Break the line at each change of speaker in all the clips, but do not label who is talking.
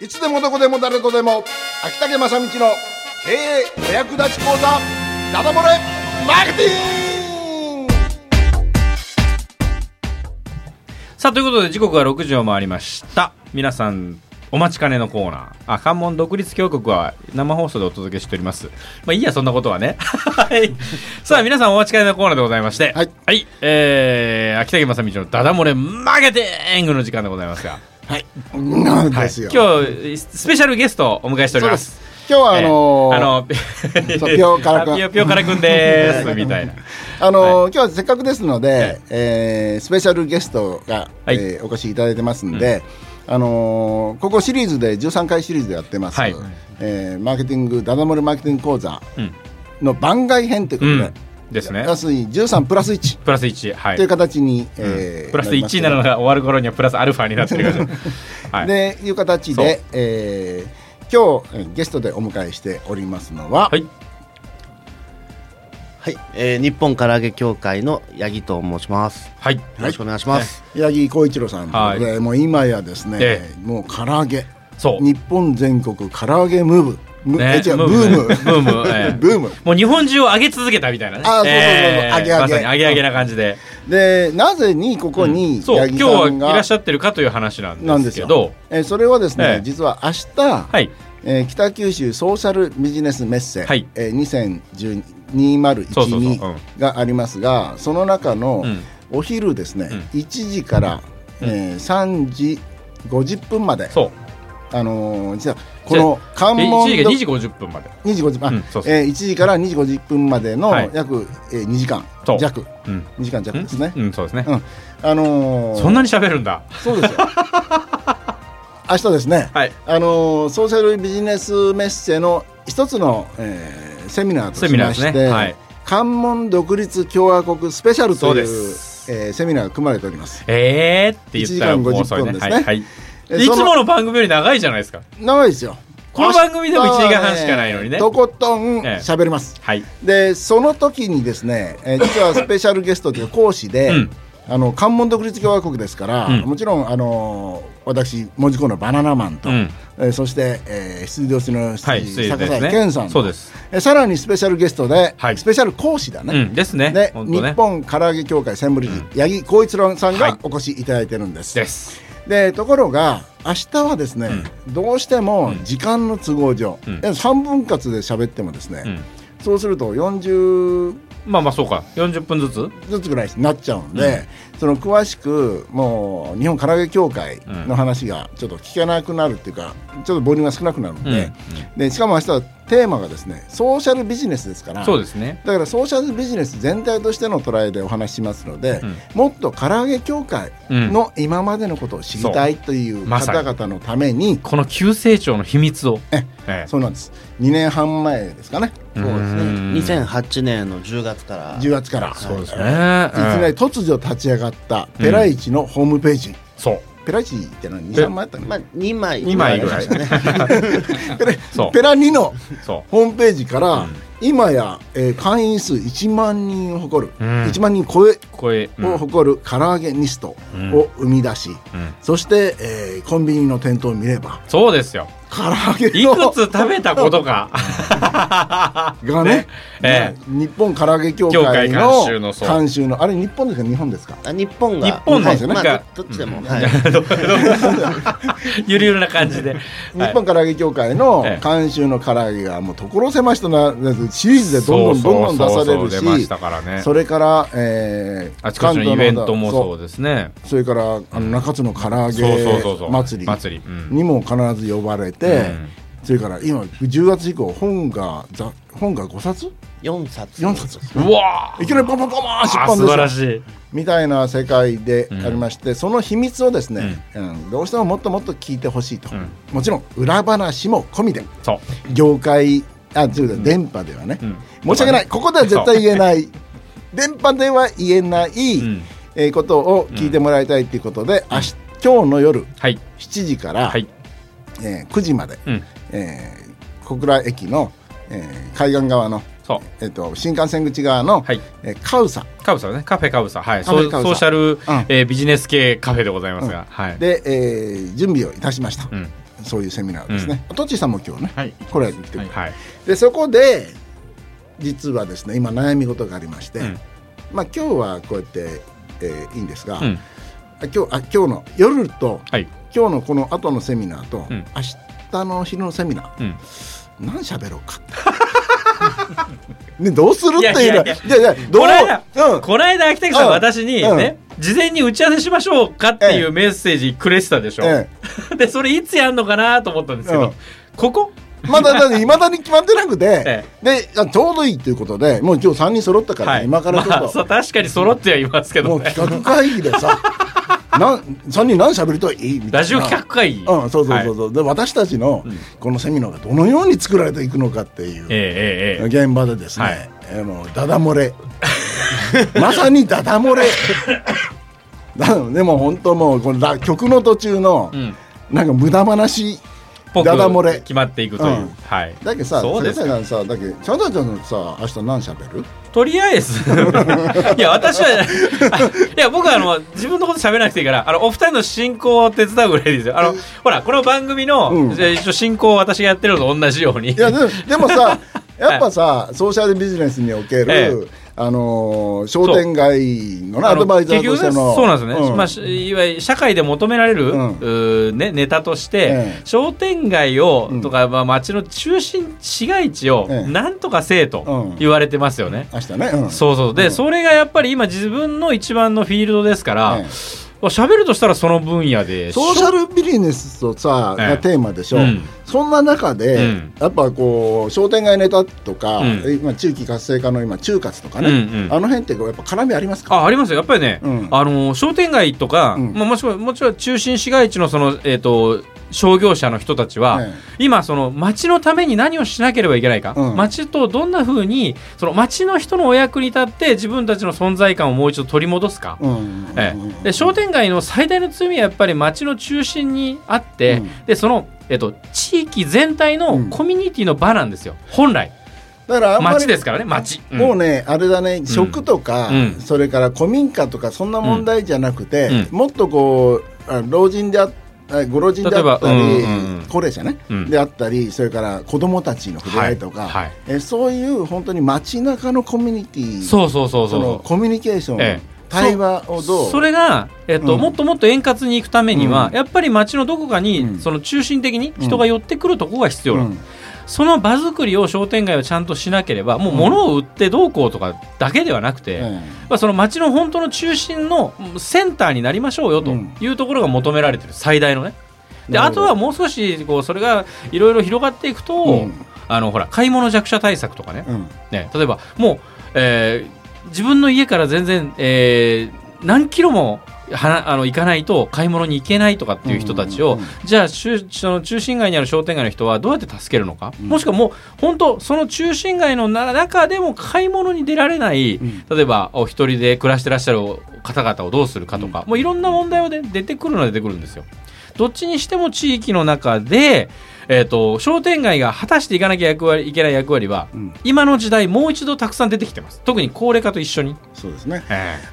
いつでもどこでも誰とでも秋竹正道の経営お役立ち講座ダダ漏れマーケティング
さあということで時刻は6時を回りました皆さんお待ちかねのコーナーあ関門独立峡谷は生放送でお届けしておりますまあいいやそんなことはね はいさあ皆さんお待ちかねのコーナーでございまして
はい、
えー、秋竹正道のダダ漏れマーケティングの時間でございますが、
なん
はい、
ですよ、
今日スペシャルゲストをお迎えしております
今日はあ
え
の
ー
ー
あの
そうピョーカラ君
あピョピョーカラ君ですみたいな
あのー今日はせっかくですので、えースペシャルゲストが、
はい
えーお越しいただいてますんで、あのーここシリーズで13回シリーズでやってます、
はい
えーマーケティングダダ漏れマーケティング講座
うん、
の番外編というこ
う
とで、
ん、ですね
要するに13プラス1
プラス1はい
という形に、えー
プラス1になるの
り
が終わる頃にはプラスアルファになってるか
ま
ら、はい、
すけどでいう形で、えー今日えーゲストでお迎えしておりますのは、
はい、
はい、えー、日本唐揚げ協会の八木と申します。
はい、
よろしくお願いします。
八木浩一郎さんということで、もう今やですね、
え
もう唐揚げ
そう
日本全国唐揚げムーブむ
ね
え違う
ム
ブ
ー
ーム
ブねブームえ え
ブーム
もう日本中を上げ続けたみたいなね。
あそうそうそう上げ上げ
まさに上げ上げな感じで。
でなぜにここに
そう、
八木
今日は
さ
い
んが、
らっしゃってるかという話な
なんん
で
ですす
け
よ
ど。
えーそれはですね、
ええ
実は明日、
はい、
えー北九州ソーシャルビジネスメッセ、
はい
えー、
そうそうそううん
2012がありますがその中の
うん
お昼ですね、
う
1時から、えー3時50分まで、
そう、
あのー実はこの関
え
門
1時
ど
が2時50分まで。
2時50分、あ
うんそうそう
えー1時から2時50分までの
はい
約、えー2時間
そう
弱
うん、
2時間弱ですね、
うん、そうですね
う。んあのー
そんなに喋るんだ。
そうですよ 明日ですね、
はい、
あのーソーシャルビジネスメッセの一つの、えーセミナーと
セミ
し
ナー
ま
です
して、
ねはい
関門独立共和国スペシャルと
そう
い
で
う
す
えーセミナーが組まれております
えーって言ったら
1時間
もう遅いね。
50分です
は
ね
い、はい。
え
でいつ
その
もの番組より長いじゃないですか。
長いですよ
この番組でも一時間半しかないのにね
明日はとことん
ええ
喋ります、
はい。
でその時にですね、 えー実はスペシャルゲストという講師で、
うん
あの関門独立共和国ですから、
うん
もちろんあのー私門司港のバナナマンと、
うん
えーそして、えー、出場する
は
坂
い、失礼です
井健さ
ね。
んと
そうです。
えーさらにスペシャルゲストで、
はい
スペシャル講師だ
う
ね、
ん、ですね。
で
本当ね
日本唐揚げ協会専務理事、八木浩一郎さん
はい
がお越しいただいてるんです、
です。
でところが明日はですね、どうしても時間の都合上、
ん
で3分割で喋ってもですね、
うん
そうすると40
まあまあそうか、40分ずつ
ずつぐらいになっちゃうんで、その詳しくもう日本唐揚げ協会の話がちょっと聞けなくなるっていうかちょっとボリュームが少なくなるんで,、
うんうん
でしかも明日はテーマがですねソーシャルビジネスですから
そうですね。
だからソーシャルビジネス全体としてのトライでお話ししますので、
うん
もっと唐揚げ協会の今までのことを知りたいという
まさに
方々のために、
この急成長の秘密を。
え
ええ
そうなんです2年半前ですかね
そうですね
うん。
2008年の10月から。
10月から
そうです
ね
えーいきなり突如立ち上がったペライチのホームページ、
そう。
ペライチって何
え
23枚あったっけ
まあ2枚。
2枚ぐらい。
ペラ
そう
ペラ2の
そう。
ホームページから、今や、えー会員数1万人を誇る、
うん
1万人超え
声。うん
を誇る唐揚げミストを生み出し、
うん
そして、えーコンビニの店頭を見れば
そうですよ。
唐揚げ
い
の
くつ食べたこと か。
がね
ねえ
日本唐揚げ協会
協会
の
監修のそう
監修のあれ日本ですか日本ですか
あ日本が。
日本
の
はい
なん
か
まあどっちでも。はい。
えどうどうゆるゆるな感じで。
日本唐揚げ協会の
ええ
監修の唐揚げがもう所狭しとなシリーズでどんどんどんどん出される
そうそうそうそう出まし
した
からね。
それから、えー
あちこちのイベント
関
も
東の
そうですね。
そうそれからあの中津の唐揚
そうそうそうそ
げ
う。
祭り
祭り。うん
にも必ず呼ばれて、
うん
それから今10月以降本がざ本が5冊
4冊。
4冊
うわ
いきなりポンポンポンポン出
あ
版
素晴
で
ら
すよ
しい。
みたいな世界でありまして、その秘密をですね、うんどうしてももっともっと聞いてほしいと、
ん
もちろん裏話も込みで
そう。
業界あちょっと電波ではね、
うん
申し訳ないここでは絶対言えない電波では言えない、
うん
えーことを聞いてもらいたいということで、明日今日の夜
はい。
7時から、
はい。
えー9時まで、
うん。
えー小倉駅の、えー海岸側の、
そう。
えー、と新幹線口側の、
はい
えーカウサ
カブサね、カフェカブサ、はい、
カフ
ソ
ェ
ー
カブサ
ソーシャル、
ん
えービジネス系カフェでございますが、はい。
で、えー準備をいたしました、
うん
そういうセミナーですね、トッチーさんも今日ね、
はい
これ来てくれて、
はい
はい。
でそこで実はですね今悩み事がありまして、
うん
まあ今日はこうやって、えーいいんですが、
うん。
あ今日あ今日の夜と
はい。
今日のこの後のセミナーと、
うん
明日の昼のセミナー
うん。
何喋ろうか ねどうするっていうのはいい
や
や
い
い
や
や
い
ど
この間
う、うん、
この間秋田さん
うん
私にね、事前に打ち合わせしましょうかっていうメッセージくれてたでしょ、
え
でそれいつやんのかなと思ったんですけど、
うん
ここ
えまだ だいまだに決まってなくて、
え
であちょうどいいということでもう今日3人揃ったから、
はい
今からちょっ
まあ、
と、
そう確かに揃ってはいますけ
も
ど
う
ね
企画会議で さなん3人何喋るといいみたいな
ラジオ企画会議、
うん、そうそう
はい
そうそう、で私たちの
うん
このセミナーがどのように作られていくのかっていう、
えええええ
現場でですね、
はい
えーもうダダ漏れまさにダダ漏れだでも本当もうこのラ曲の途中の
えうん
なんか無駄話
ぽく
ダダ漏れ
決まっていくという、
うん
はい
だけどさ
そうです
先生なんさだけどちゃんとちゃんとさ明日何しゃべる
とりあえず いや私は いや僕はあの自分のこと喋らなくていいからあのお二人の進行を手伝うぐらいですよあのほらこの番組の、
うん
じゃあ一応進行を私がやってるのと同じように
いやでもで もさやっぱさソーシャルビジネスにおける、
え
あのー商店街のねアドバイザーとして
結
の
局ねそうなんですよね、
うん
まあし、いわゆる社会で求められる、
うん
うーね、ネタとして、
ええ
商店街を、
うん
とか、まあ、街の中心市街地を、
ええ
なんとかせえと
うん
言われてますよね。
明日ね、うん、
そうそうで、
うん
それがやっぱり今自分の一番のフィールドですから、
ええ
喋るとしたらその分野で
ソーシャルビジネスとさ、
ええ
がテーマでしょ、
うん
そんな中で、
うん
やっぱこう商店街ネタとか、
うん
今地域活性化の今中活とか
うん
ね、
うん
あの辺ってこうやっぱ絡みありますか
あありますよやっぱりね、
うん
あのー商店街とか、
うん
まあ、もしくはもちろん中心市街地のその、えー、と商業者の人たちは、
え
今その町のために何をしなければいけないか、
うん
町とどんなふうにその町の人のお役に立って自分たちの存在感をもう一度取り戻すか。
うん
ええ、で商店街の最大の強みはやっぱり町の中心にあって、
うん
でその、えっと、地域全体
う
の
ん
コミュニティの場なんですよ本来
だからあんま
町
り
ですからね町、ん
もうねあれだね食とか、
うん
それから古民家とかそんな問題じゃなくて、
う
もっとこうあ老人でああご老人であったり、
例えばうんうんうん
高齢者ね、
うん
であったりそれから子供たちの触れ合いとか、
はいはい
えそういう本当に街中のコミュニティ
そうそうそうそう
そのコミュニケーション、
ええ
対話をどう
それが、えっと
うん
もっともっと円滑に行くためには、
うん
やっぱり街のどこかに、
うん
その中心的に人が寄ってくるとこが必要
う
なんその場作りを商店街はちゃんとしなければもう
うん
物を売ってどうこうとかだけではなくて、
え
まあ、その街の本当の中心のうんセンターになりましょうよと
うん
いうところが求められてる最大のね。で
な
あ
るほ
と
ど
はもう少しこうそれがいろいろ広がっていくと、
えうん
あのほら買い物弱者対策とかね、
うん
ね、例えばもう、えー自分の家から全然、えー何キロもはなあの行かないと買い物に行けないとかっていう人たちを、
うんうんうん
じゃあ中その中心街にある商店街の人はどうやって助けるのか、もしくはもう本当その中心街のな中でも買い物に出られない、
ん
例えばお一人で暮らしてらっしゃる方々をどうするかとか、もういろんな問題はで出てくるのは出てくるんですよ。どっちにしても地域の中で、えー、と商店街が果たしていかなきゃ役割いけない役割は
うん
今の時代もう一度たくさん出てきてます特に高齢化と一緒に、
そうですね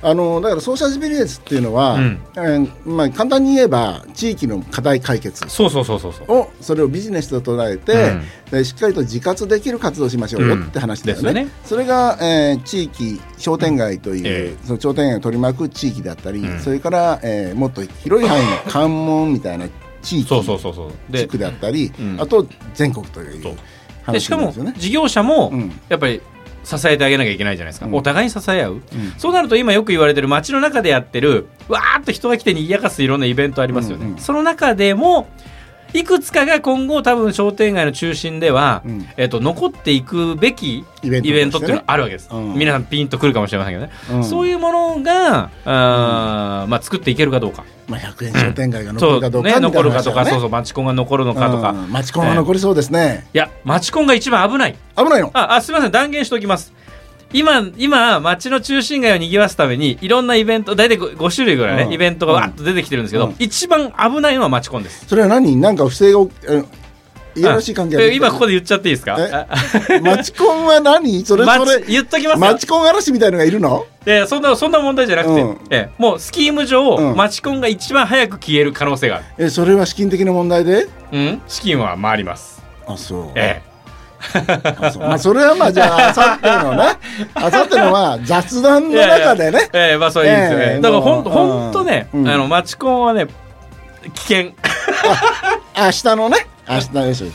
あのだからソーシャルビジネスっていうのは、
うん
えーまあ、簡単に言えば地域の課題解決
そうそうそうそうそう
をそれをビジネスと捉えて、でしっかりと自活できる活動をしましょうよって話だよね,、
うんですよね
それが、えー地域商店街という、
え
その商店街を取り巻く地域だったり、
うん
それから、えーもっと広い範囲の関門みたいな地域
そうそうそうそう
地
で
区であったり、
うん
あと全国という
そうでし
話
か
なん
も
ですよね。
事業者も
うん
やっぱり支えてあげなきゃいけないじゃないですか、
うん
お互いに支え合う、
うん
そうなると今よく言われてる街の中でやってるわーっと人が来てにぎやかすいろんなイベントありますよね、
うんうん
その中でもいくつかが今後多分商店街の中心では、
うん
えっと残っていくべき
イベントとしてね
イベントっていうのはあるわけです、
うん
皆さんピンとくるかもしれませんけどね、
うん
そういうものがあー、まあ、作っていけるかどうか
まあ、100円商店街が残
そ
るかど
う
うか
ね残るかとか、そう
う
そう町コンが残るのかとか、い
町コンは残りそうですね、
や町コンが一番危ない
危ないの
ああすみません断言しておきます今今町の中心街をにぎわすためにいろんなイベント大体 5, 種類ぐらいね、
うん
イベントがわっと出てきてるんですけど、
うん
一番危ないのは町コンです
それは何なんか不正が起きえいやらしい関係は
うん
できて
え
る
今ここで言っちゃっていいですか
え
あ
マチコンは何それ
マ
そ
チ
れ
言っときます
マ
よ
チコン嵐みたいのがいるの
えーそんなそんな問題じゃなくて、
うん
えーもうスキーム上、
うん
マチコンが一番早く消える可能性がある、
えそれは資金的な問題で
うん、資金は回ります、
あそう
え
あそうまあそれはまあじゃああさってのねあさってのは雑談の中でね
ーえーまあそれいいですよね、
えー
だからほん
もう
ほんとね、
うん
あのマチコンはね危 険
明日のね明日ですじ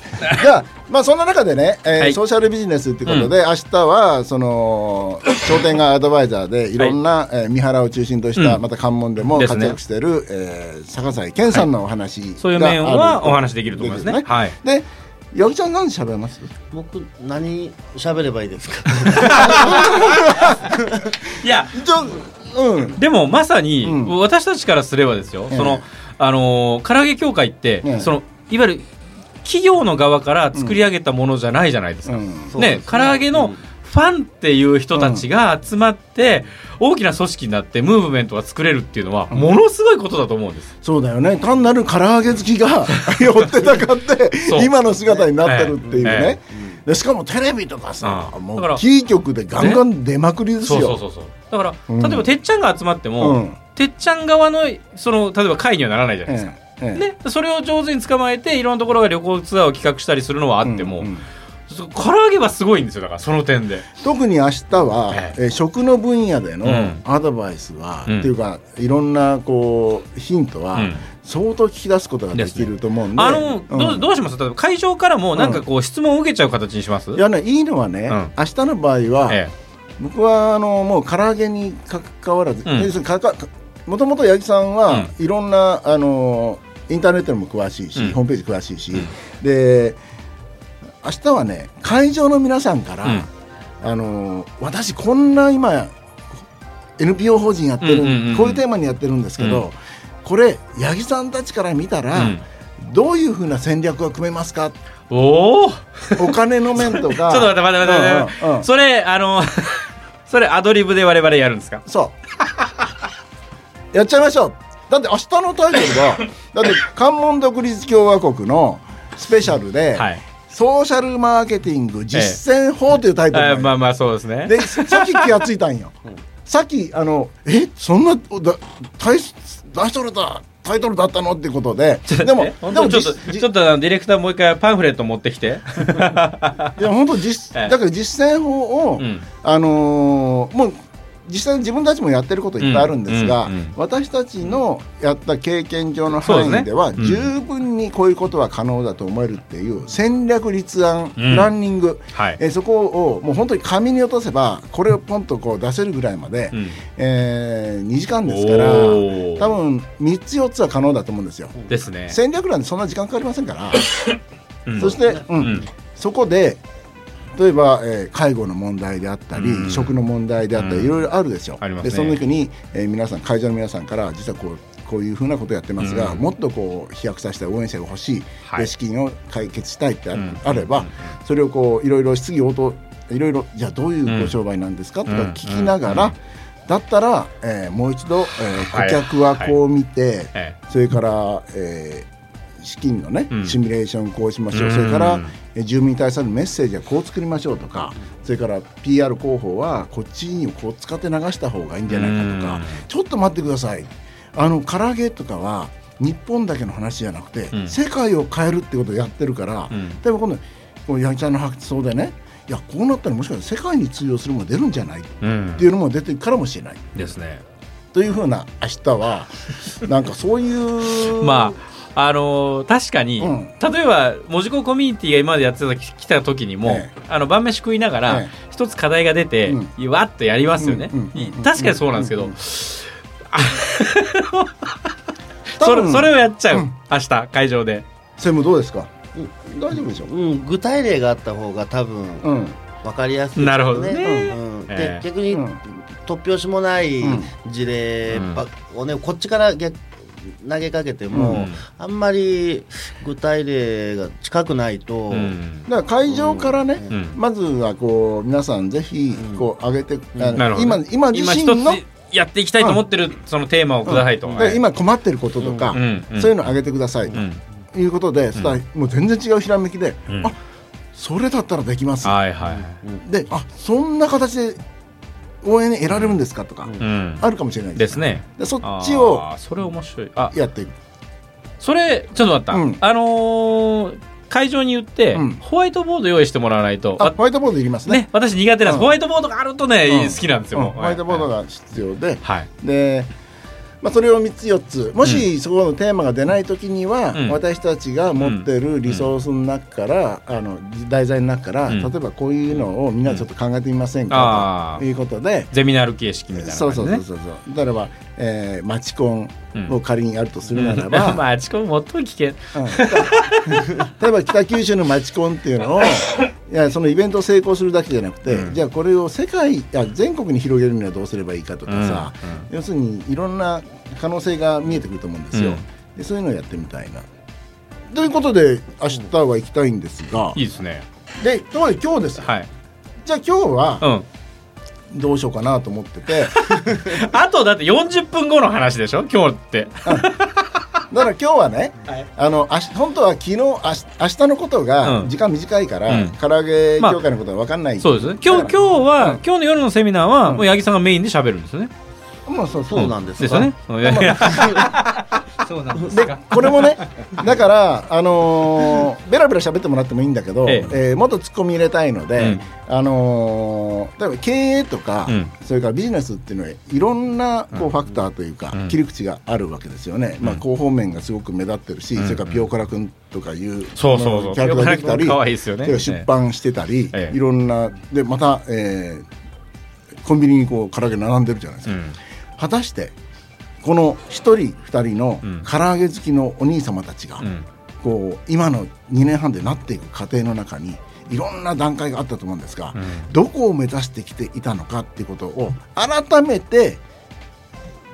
ゃあまあそんな中でね、えー
はい
ソーシャルビジネスっていうことで、明日はその商店街アドバイザーでいろんな、えー三原を中心とした、
うん
また関門でも
です
活
ね
躍してる、えー坂崎健さんのお話がある、
そういう面はお話しできると思いますね
で
はい
で八木ちゃん何喋れます
僕何喋ればい いですか
いや
ちょうん
でもまさに、
うん
私たちからすればですよ、
ええ
そのあのー唐揚げ協会って、
ええ
そのいわゆる企業の側から作り上げたものじゃないじゃないです
う
か、
ん
そう
ね
です
唐揚げの
うん
ファンっていう人たちが集まって、大きな組織になってムーブメントが作れるっていうのはものすごいことだと思うんです、
そうだよね単なる唐揚げ好き が寄ってたかって
そう
今の姿になってるっていうね、
ええ
でしかもテレビとかさ、
うん
も
だから
うキー局でガンガン出まくりです
そ
よ
うそうそうそうだから、
うん
例えばてっちゃんが集まっても、
うん
てっちゃん側のその例えば会にはならないじゃないですか、
ええええ
ね、それを上手に捕まえていろんなところが旅行ツアーを企画したりするのはあっても、
うんうん
そう唐揚げはすごいんですよだからその点で
特に明日は、
え
えー食の分野での
うん
アドバイスは、
うん
っていうかいろんなこうヒントは、
うん
相当聞き出すことができると思うんで
あの、どうど
う
うします例えば会場からもなんかこう質問を受けちゃう形にします、
んいやねいいのはね、
うん
明日の場合は、
え
僕はあのもう唐揚げにかかわらず、
うん
要するにかかもともと八木さんは、いろんなあのインターネットにも詳しいし、
うん
ホームページ詳しいし、
うん
で明日はね会場の皆さんから、
うん
あの私こんな今 NPO 法人やってる、
うんうんうんうん
こういうテーマにやってるんですけど、
う
これ八木さんたちから見た
え
ら、
うん
どういうふうな戦略が組めますか
おおちょ
お金の面とかち ょ
っと待って待って待って待って、
うんうんうん
それあの それアドリブで我々やるんですか
そう。やっちゃいましょう。だって明日のタイトル は、だって関門独立共和国のスペシャルで、
はい、
ソーシャルマーケティング実践法というタイ
え
トルなのよ、
ーまあまあそうですね
で、さっき気がついたん よ。さっき、あの、え、そんな、だ大大それたタイトルだったのってことで、でも
え、
で
本当
も
にちょっ
実、
と
じ
ちょっとあのディレクターもう一回パンフレット持って きて、
いや本当実、
ええ
だから実践法を、
うん
あのーもう実際に自分たちもやってることいっぱいあるんですが、
うんうんうん
私たちのやった経験上の
そうで
範
すね
囲では
うん
十分にこういうことは可能だと思えるっていう戦略立案、
うん
プランニング、
はい
えーそこをもう本当に紙に落とせばこれをポンとこう出せるぐらいまで、
うん
えー2時間ですから多
おー
分3つ4つは可能だと思うんですよ。
ですね、
戦略なんてそんな時間かかりませんから。
うん
そして、う
うんん
そこで例えば、えー介護の問題であったり、
うん
食の問題であったり、
うん
いろいろあるでしょ
ありますね
でその時に、えー皆さん会場の皆さんから実はこうこういうふうなことやってますが、
うん
もっとこう飛躍させて応援してほしい、
はい
で資金を解決したいってあ,、
うん
あれば、
うん
それをこういろいろ質疑応答いろいろじゃあどういう
う
ご
ん
商売なんですか、と
う
か
ん
聞きながら、
うん
だったら、えーもう一度、えー
はい
顧客はこう見て、
ええ
それから、えー資金のね、
うん
シミュレーションこうしましょ
う
う、
ん
それから、えー住民に対するメッセージはこう作りましょうとか、それから PR 広報はこっちにこう使って流した方がいいんじゃないかとか、
うん
ちょっと待ってください、あの唐揚げとかは日本だけの話じゃなくて、
うん
世界を変えるってことをやってるから、
うん
例えば今度、こう八木ちゃんの発想でね、いや、こうなったらもしかしたら世界に通用するもの出るんじゃないっ
うん
ていうのも出てるからもしれない。
ですね
というふうな明日 はなんかそういう
まああのー確かに、
うん
例えば文字工コミュニティが今までやってたき来た時にも、
え
あの晩飯食いながら、
え
一つ課題が出て、
う
わっとやりますよね、
うんうんうん
確かにそうなんですけど、
うん
そ
多
れ
分
それをやっちゃう、
うん
明日会場で
専務どうですか
うん
大丈夫でしょう
うん、具体例があった方が多分
うん
分かりやすい、
なるほどね
うんうんで
ええ
逆に、
うん
突拍子もない
うん
事例ばをね、こっちから逆投げかけても、
うん
あんまり具体例が近くないと、
うん
だから会場からね、
うん
まずはこう皆さんぜひこう上げて、あ
なる
の
ほど
今今
今
自身
一
の
つやっていきたいと思ってる、そのテーマをくださいと、
うんで今困ってることとか、
うんうん
そういうの上げてください、
うん
いうことで、そしたらもう全然違うひらめきで、
うん
あそれだったらできます
はいはい。
であそんな形で応援得られるんですかとか、
うん。
あるかもしれない
ですね。
でそっちを
あーそれ面白い。あ、
やっていく
それちょっと待った。
うん
あのー会場に言って、
うん
ホワイトボード用意してもらわないと。
あ
あ
ホワイトボードいりますね
ね、私苦手なんです、
うん
ホワイトボードがあるとね、
うん
好きなんですよ、
うん
もう
ホワイトボードが必要で
はい、
で、まあ、それを3つ4つもしそこのテーマが出ない時には、
うん
私たちが持ってるリソースの中から、あの題材の中から、
うん
例えばこういうのをみんなちょっと考えてみませんか、
ああ
ということで。
ゼミナール形式みたいな
そ
感
う
じ
そ
ね
うそうそうそうだから、えー、マチコン
うん
を仮にやるとするならば、
まあ、あちこもっと危険。
うん 例えば北九州の町コンっていうの をいやそのイベントを成功するだけじゃなくて、
うん
じゃあこれを世界や全国に広げるにはどうすればいいかとかさ、
うんうん
要するにいろんな可能性が見えてくると思うんですよ、
うん
でそういうのをやってみたいな。ということで明日は行きたいんですが、
いいですね。
でところで今日です、
はい。
じゃあ今日
う
は
ん。
どうしようかなと思って てだか
あとだって40分後の話でしょ今日って。
ら今日はねあのあし本当は昨日あし明日のことが
うん
時間短いから、
うん
唐揚げ協会のことは分かんない、
そうですね。今
だ
日、
から
今日は、
うん
今日の夜のセミナーは、
うん
もう八木さんがメインで喋るんですよね。
まあそうそう
そうなんですか
ですよね。うんいやいや
そうなんです
で
か。
これもねだからあのー、ベラベラ喋ってもらってもいいんだけど、
え
えーもっと突っ込み入れたいので、あのー例えば経営とか、
うん
それからビジネスっていうのはいろんなこう、
うん
ファクターというか、
うん
切り口があるわけですよね、まあ、
うん
広報面がすごく目立ってるし、
うん
それからピオカラ君とかいう
そうそうそう。
キャラクターができたり
可愛いですよ
それから
ね。
出版してたり、
ええ
いろんなでまた、えーコンビニにこう唐揚げ並んでるじゃないです
う
か。
ん。
果たしてこの1人2人の
うん
唐揚げ好きのお兄様たちが、
うん。
こう今の2年半でなっていく過程の中にいろんな段階があったと思うんですが、
うん
どこを目指してきていたのかっていうことを改めて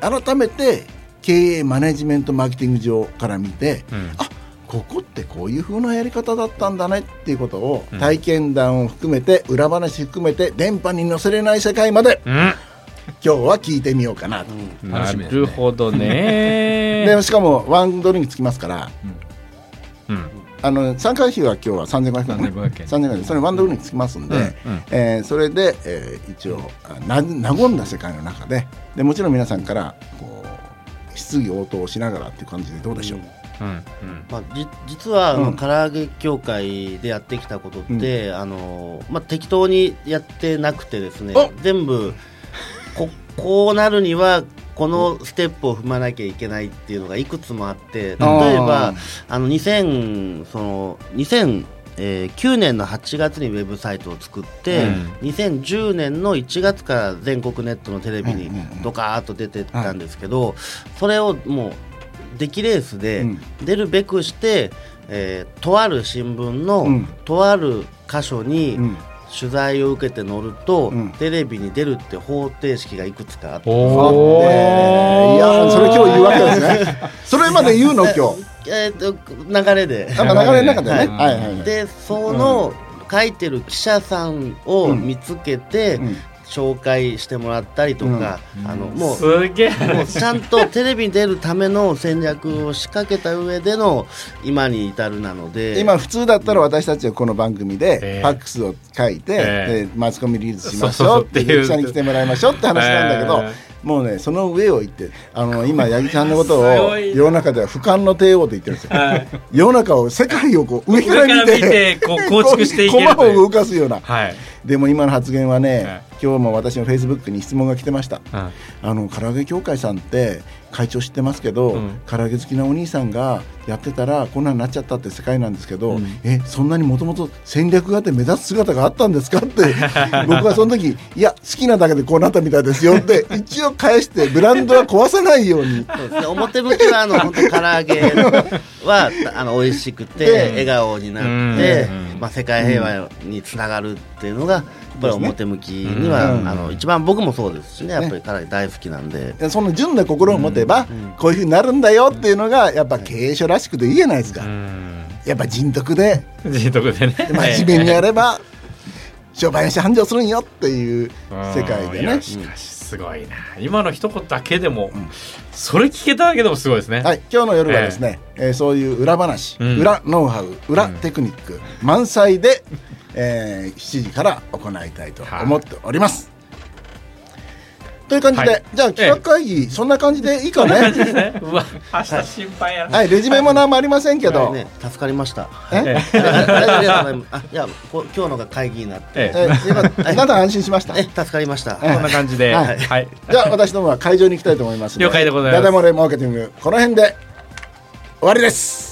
改めて経営マネジメントマーケティング上から見て
うん
あここってこういう風なやり方だったんだねっていうことを
うん
体験談を含めて裏話含めて電波に載せれない世界まで
うん。
今日は聞いてみようかなと。
楽
な
しみですね
るほどね。
でしかもワンドリンクつきますから
うん。
あの参加費は今日は3500円ね
3500円
3500円それワンドリンクつきますんで、
うんうん
えーそれで、えー一応あな和んだ世界の中ででもちろん皆さんからこう質疑応答をしながらっていう感じでどうでしょう、
うん。うん。
まあ、じ実は、あ
う
の
ん
唐揚げ協会でやってきたことって、あのまあ、適当にやってなくてですね
お
全部ここうなるにはこのステップを踏まなきゃいけないっていうのがいくつもあって例えば
あー
あの2000その2009年の8月にウェブサイトを作って、2010年の1月から全国ネットのテレビに
うんうんうん
ドカーッと出てったんですけど、それをもう出来レースで、
うん
出るべくして、えーとある新聞の、
うん
とある箇所に
うん
取材を受けて載ると、
うん
テレビに出るって方程式がいくつかあって。
おお。
えーいやーそれ今日言うわけですねそれまで言うの今日
えーと流れで
なんか流れの中でね、
は
は
い
いはいはい
でその書いてる記者さんを見つけて
うん
紹介してもらったりとか、あのもう
すげえ。
もうちゃんとテレビに出るための戦略を仕掛けた上での今に至るなので
今普通だったら私たちはこの番組
え
で
ー
ファックスを書いて、
え
で
ー
マスコミリリースしまし
そうそ
ょ
うそう
うって
っていう
記者に来てもらいましょうって話なんだけど、
え
もうねその上を言ってあ の今八木ちゃんのことを
すごい
世の中では俯瞰の帝王と言ってるん ですよ
はい
世の中を世界をこう上
上
か
からら
見て
見て、こう構築していける
駒
と
を
いう。
動かすような
はい。
でも今の発言はね、
はい
今日も私のフェイスブックに質問が来てました
うん
あの唐揚げ協会さんって会長知ってますけど、
うん
唐揚げ好きなお兄さんがやってたらこんなんなっちゃったって世界なんですけど、
うん
えそんなにもともと戦略があって目立つ姿があったんですかって 僕はその時いや好きなだけでこうなったみたいですよ って一応返してブランドは壊さないように。
そうですね、表向きはあの本当唐揚げはあの美味しくて笑顔になって
うん、
まあ、世界平和につながるっていうのがやっぱり表向きには、
うん
あの一番僕もそうですしねやっぱり唐揚げ大好きなんで。
その純な心を持てば、こういうふうになるんだよっていうのがやっぱ経営者らしくていいじゃないですか、
うん。
やっぱ人徳で
自得でね。
真面目にやれば商売主繁盛するんよっていう世界で
いや
ね
しかしすすごいな今の一言だけでも、それ聞けただけでもすごいですね、
はい、今日の夜はですね、えーそういう裏話、
うん
裏ノウハウ裏テクニック、満載で、えー7時から行いたいと思っております。という感じで、
はい
じゃあ企画会議、そんな感じでいいか
こんな感じ
ね。
ですねうわ 明日心配やな、
はい、レジュメも何もありませんけど、
ね、助かりました。
え
え
ありがとうございます。あ、いや、こ今日のが会議になって。
ええ
えよかったなんか安心しました。
え、
じ
助かりました。
え
こんな感じで、
はい
はい
ゃあ私どもは会場に行きたいと思いますの。
了解でございます
ダダ漏れマーケティングこの辺で終わりです。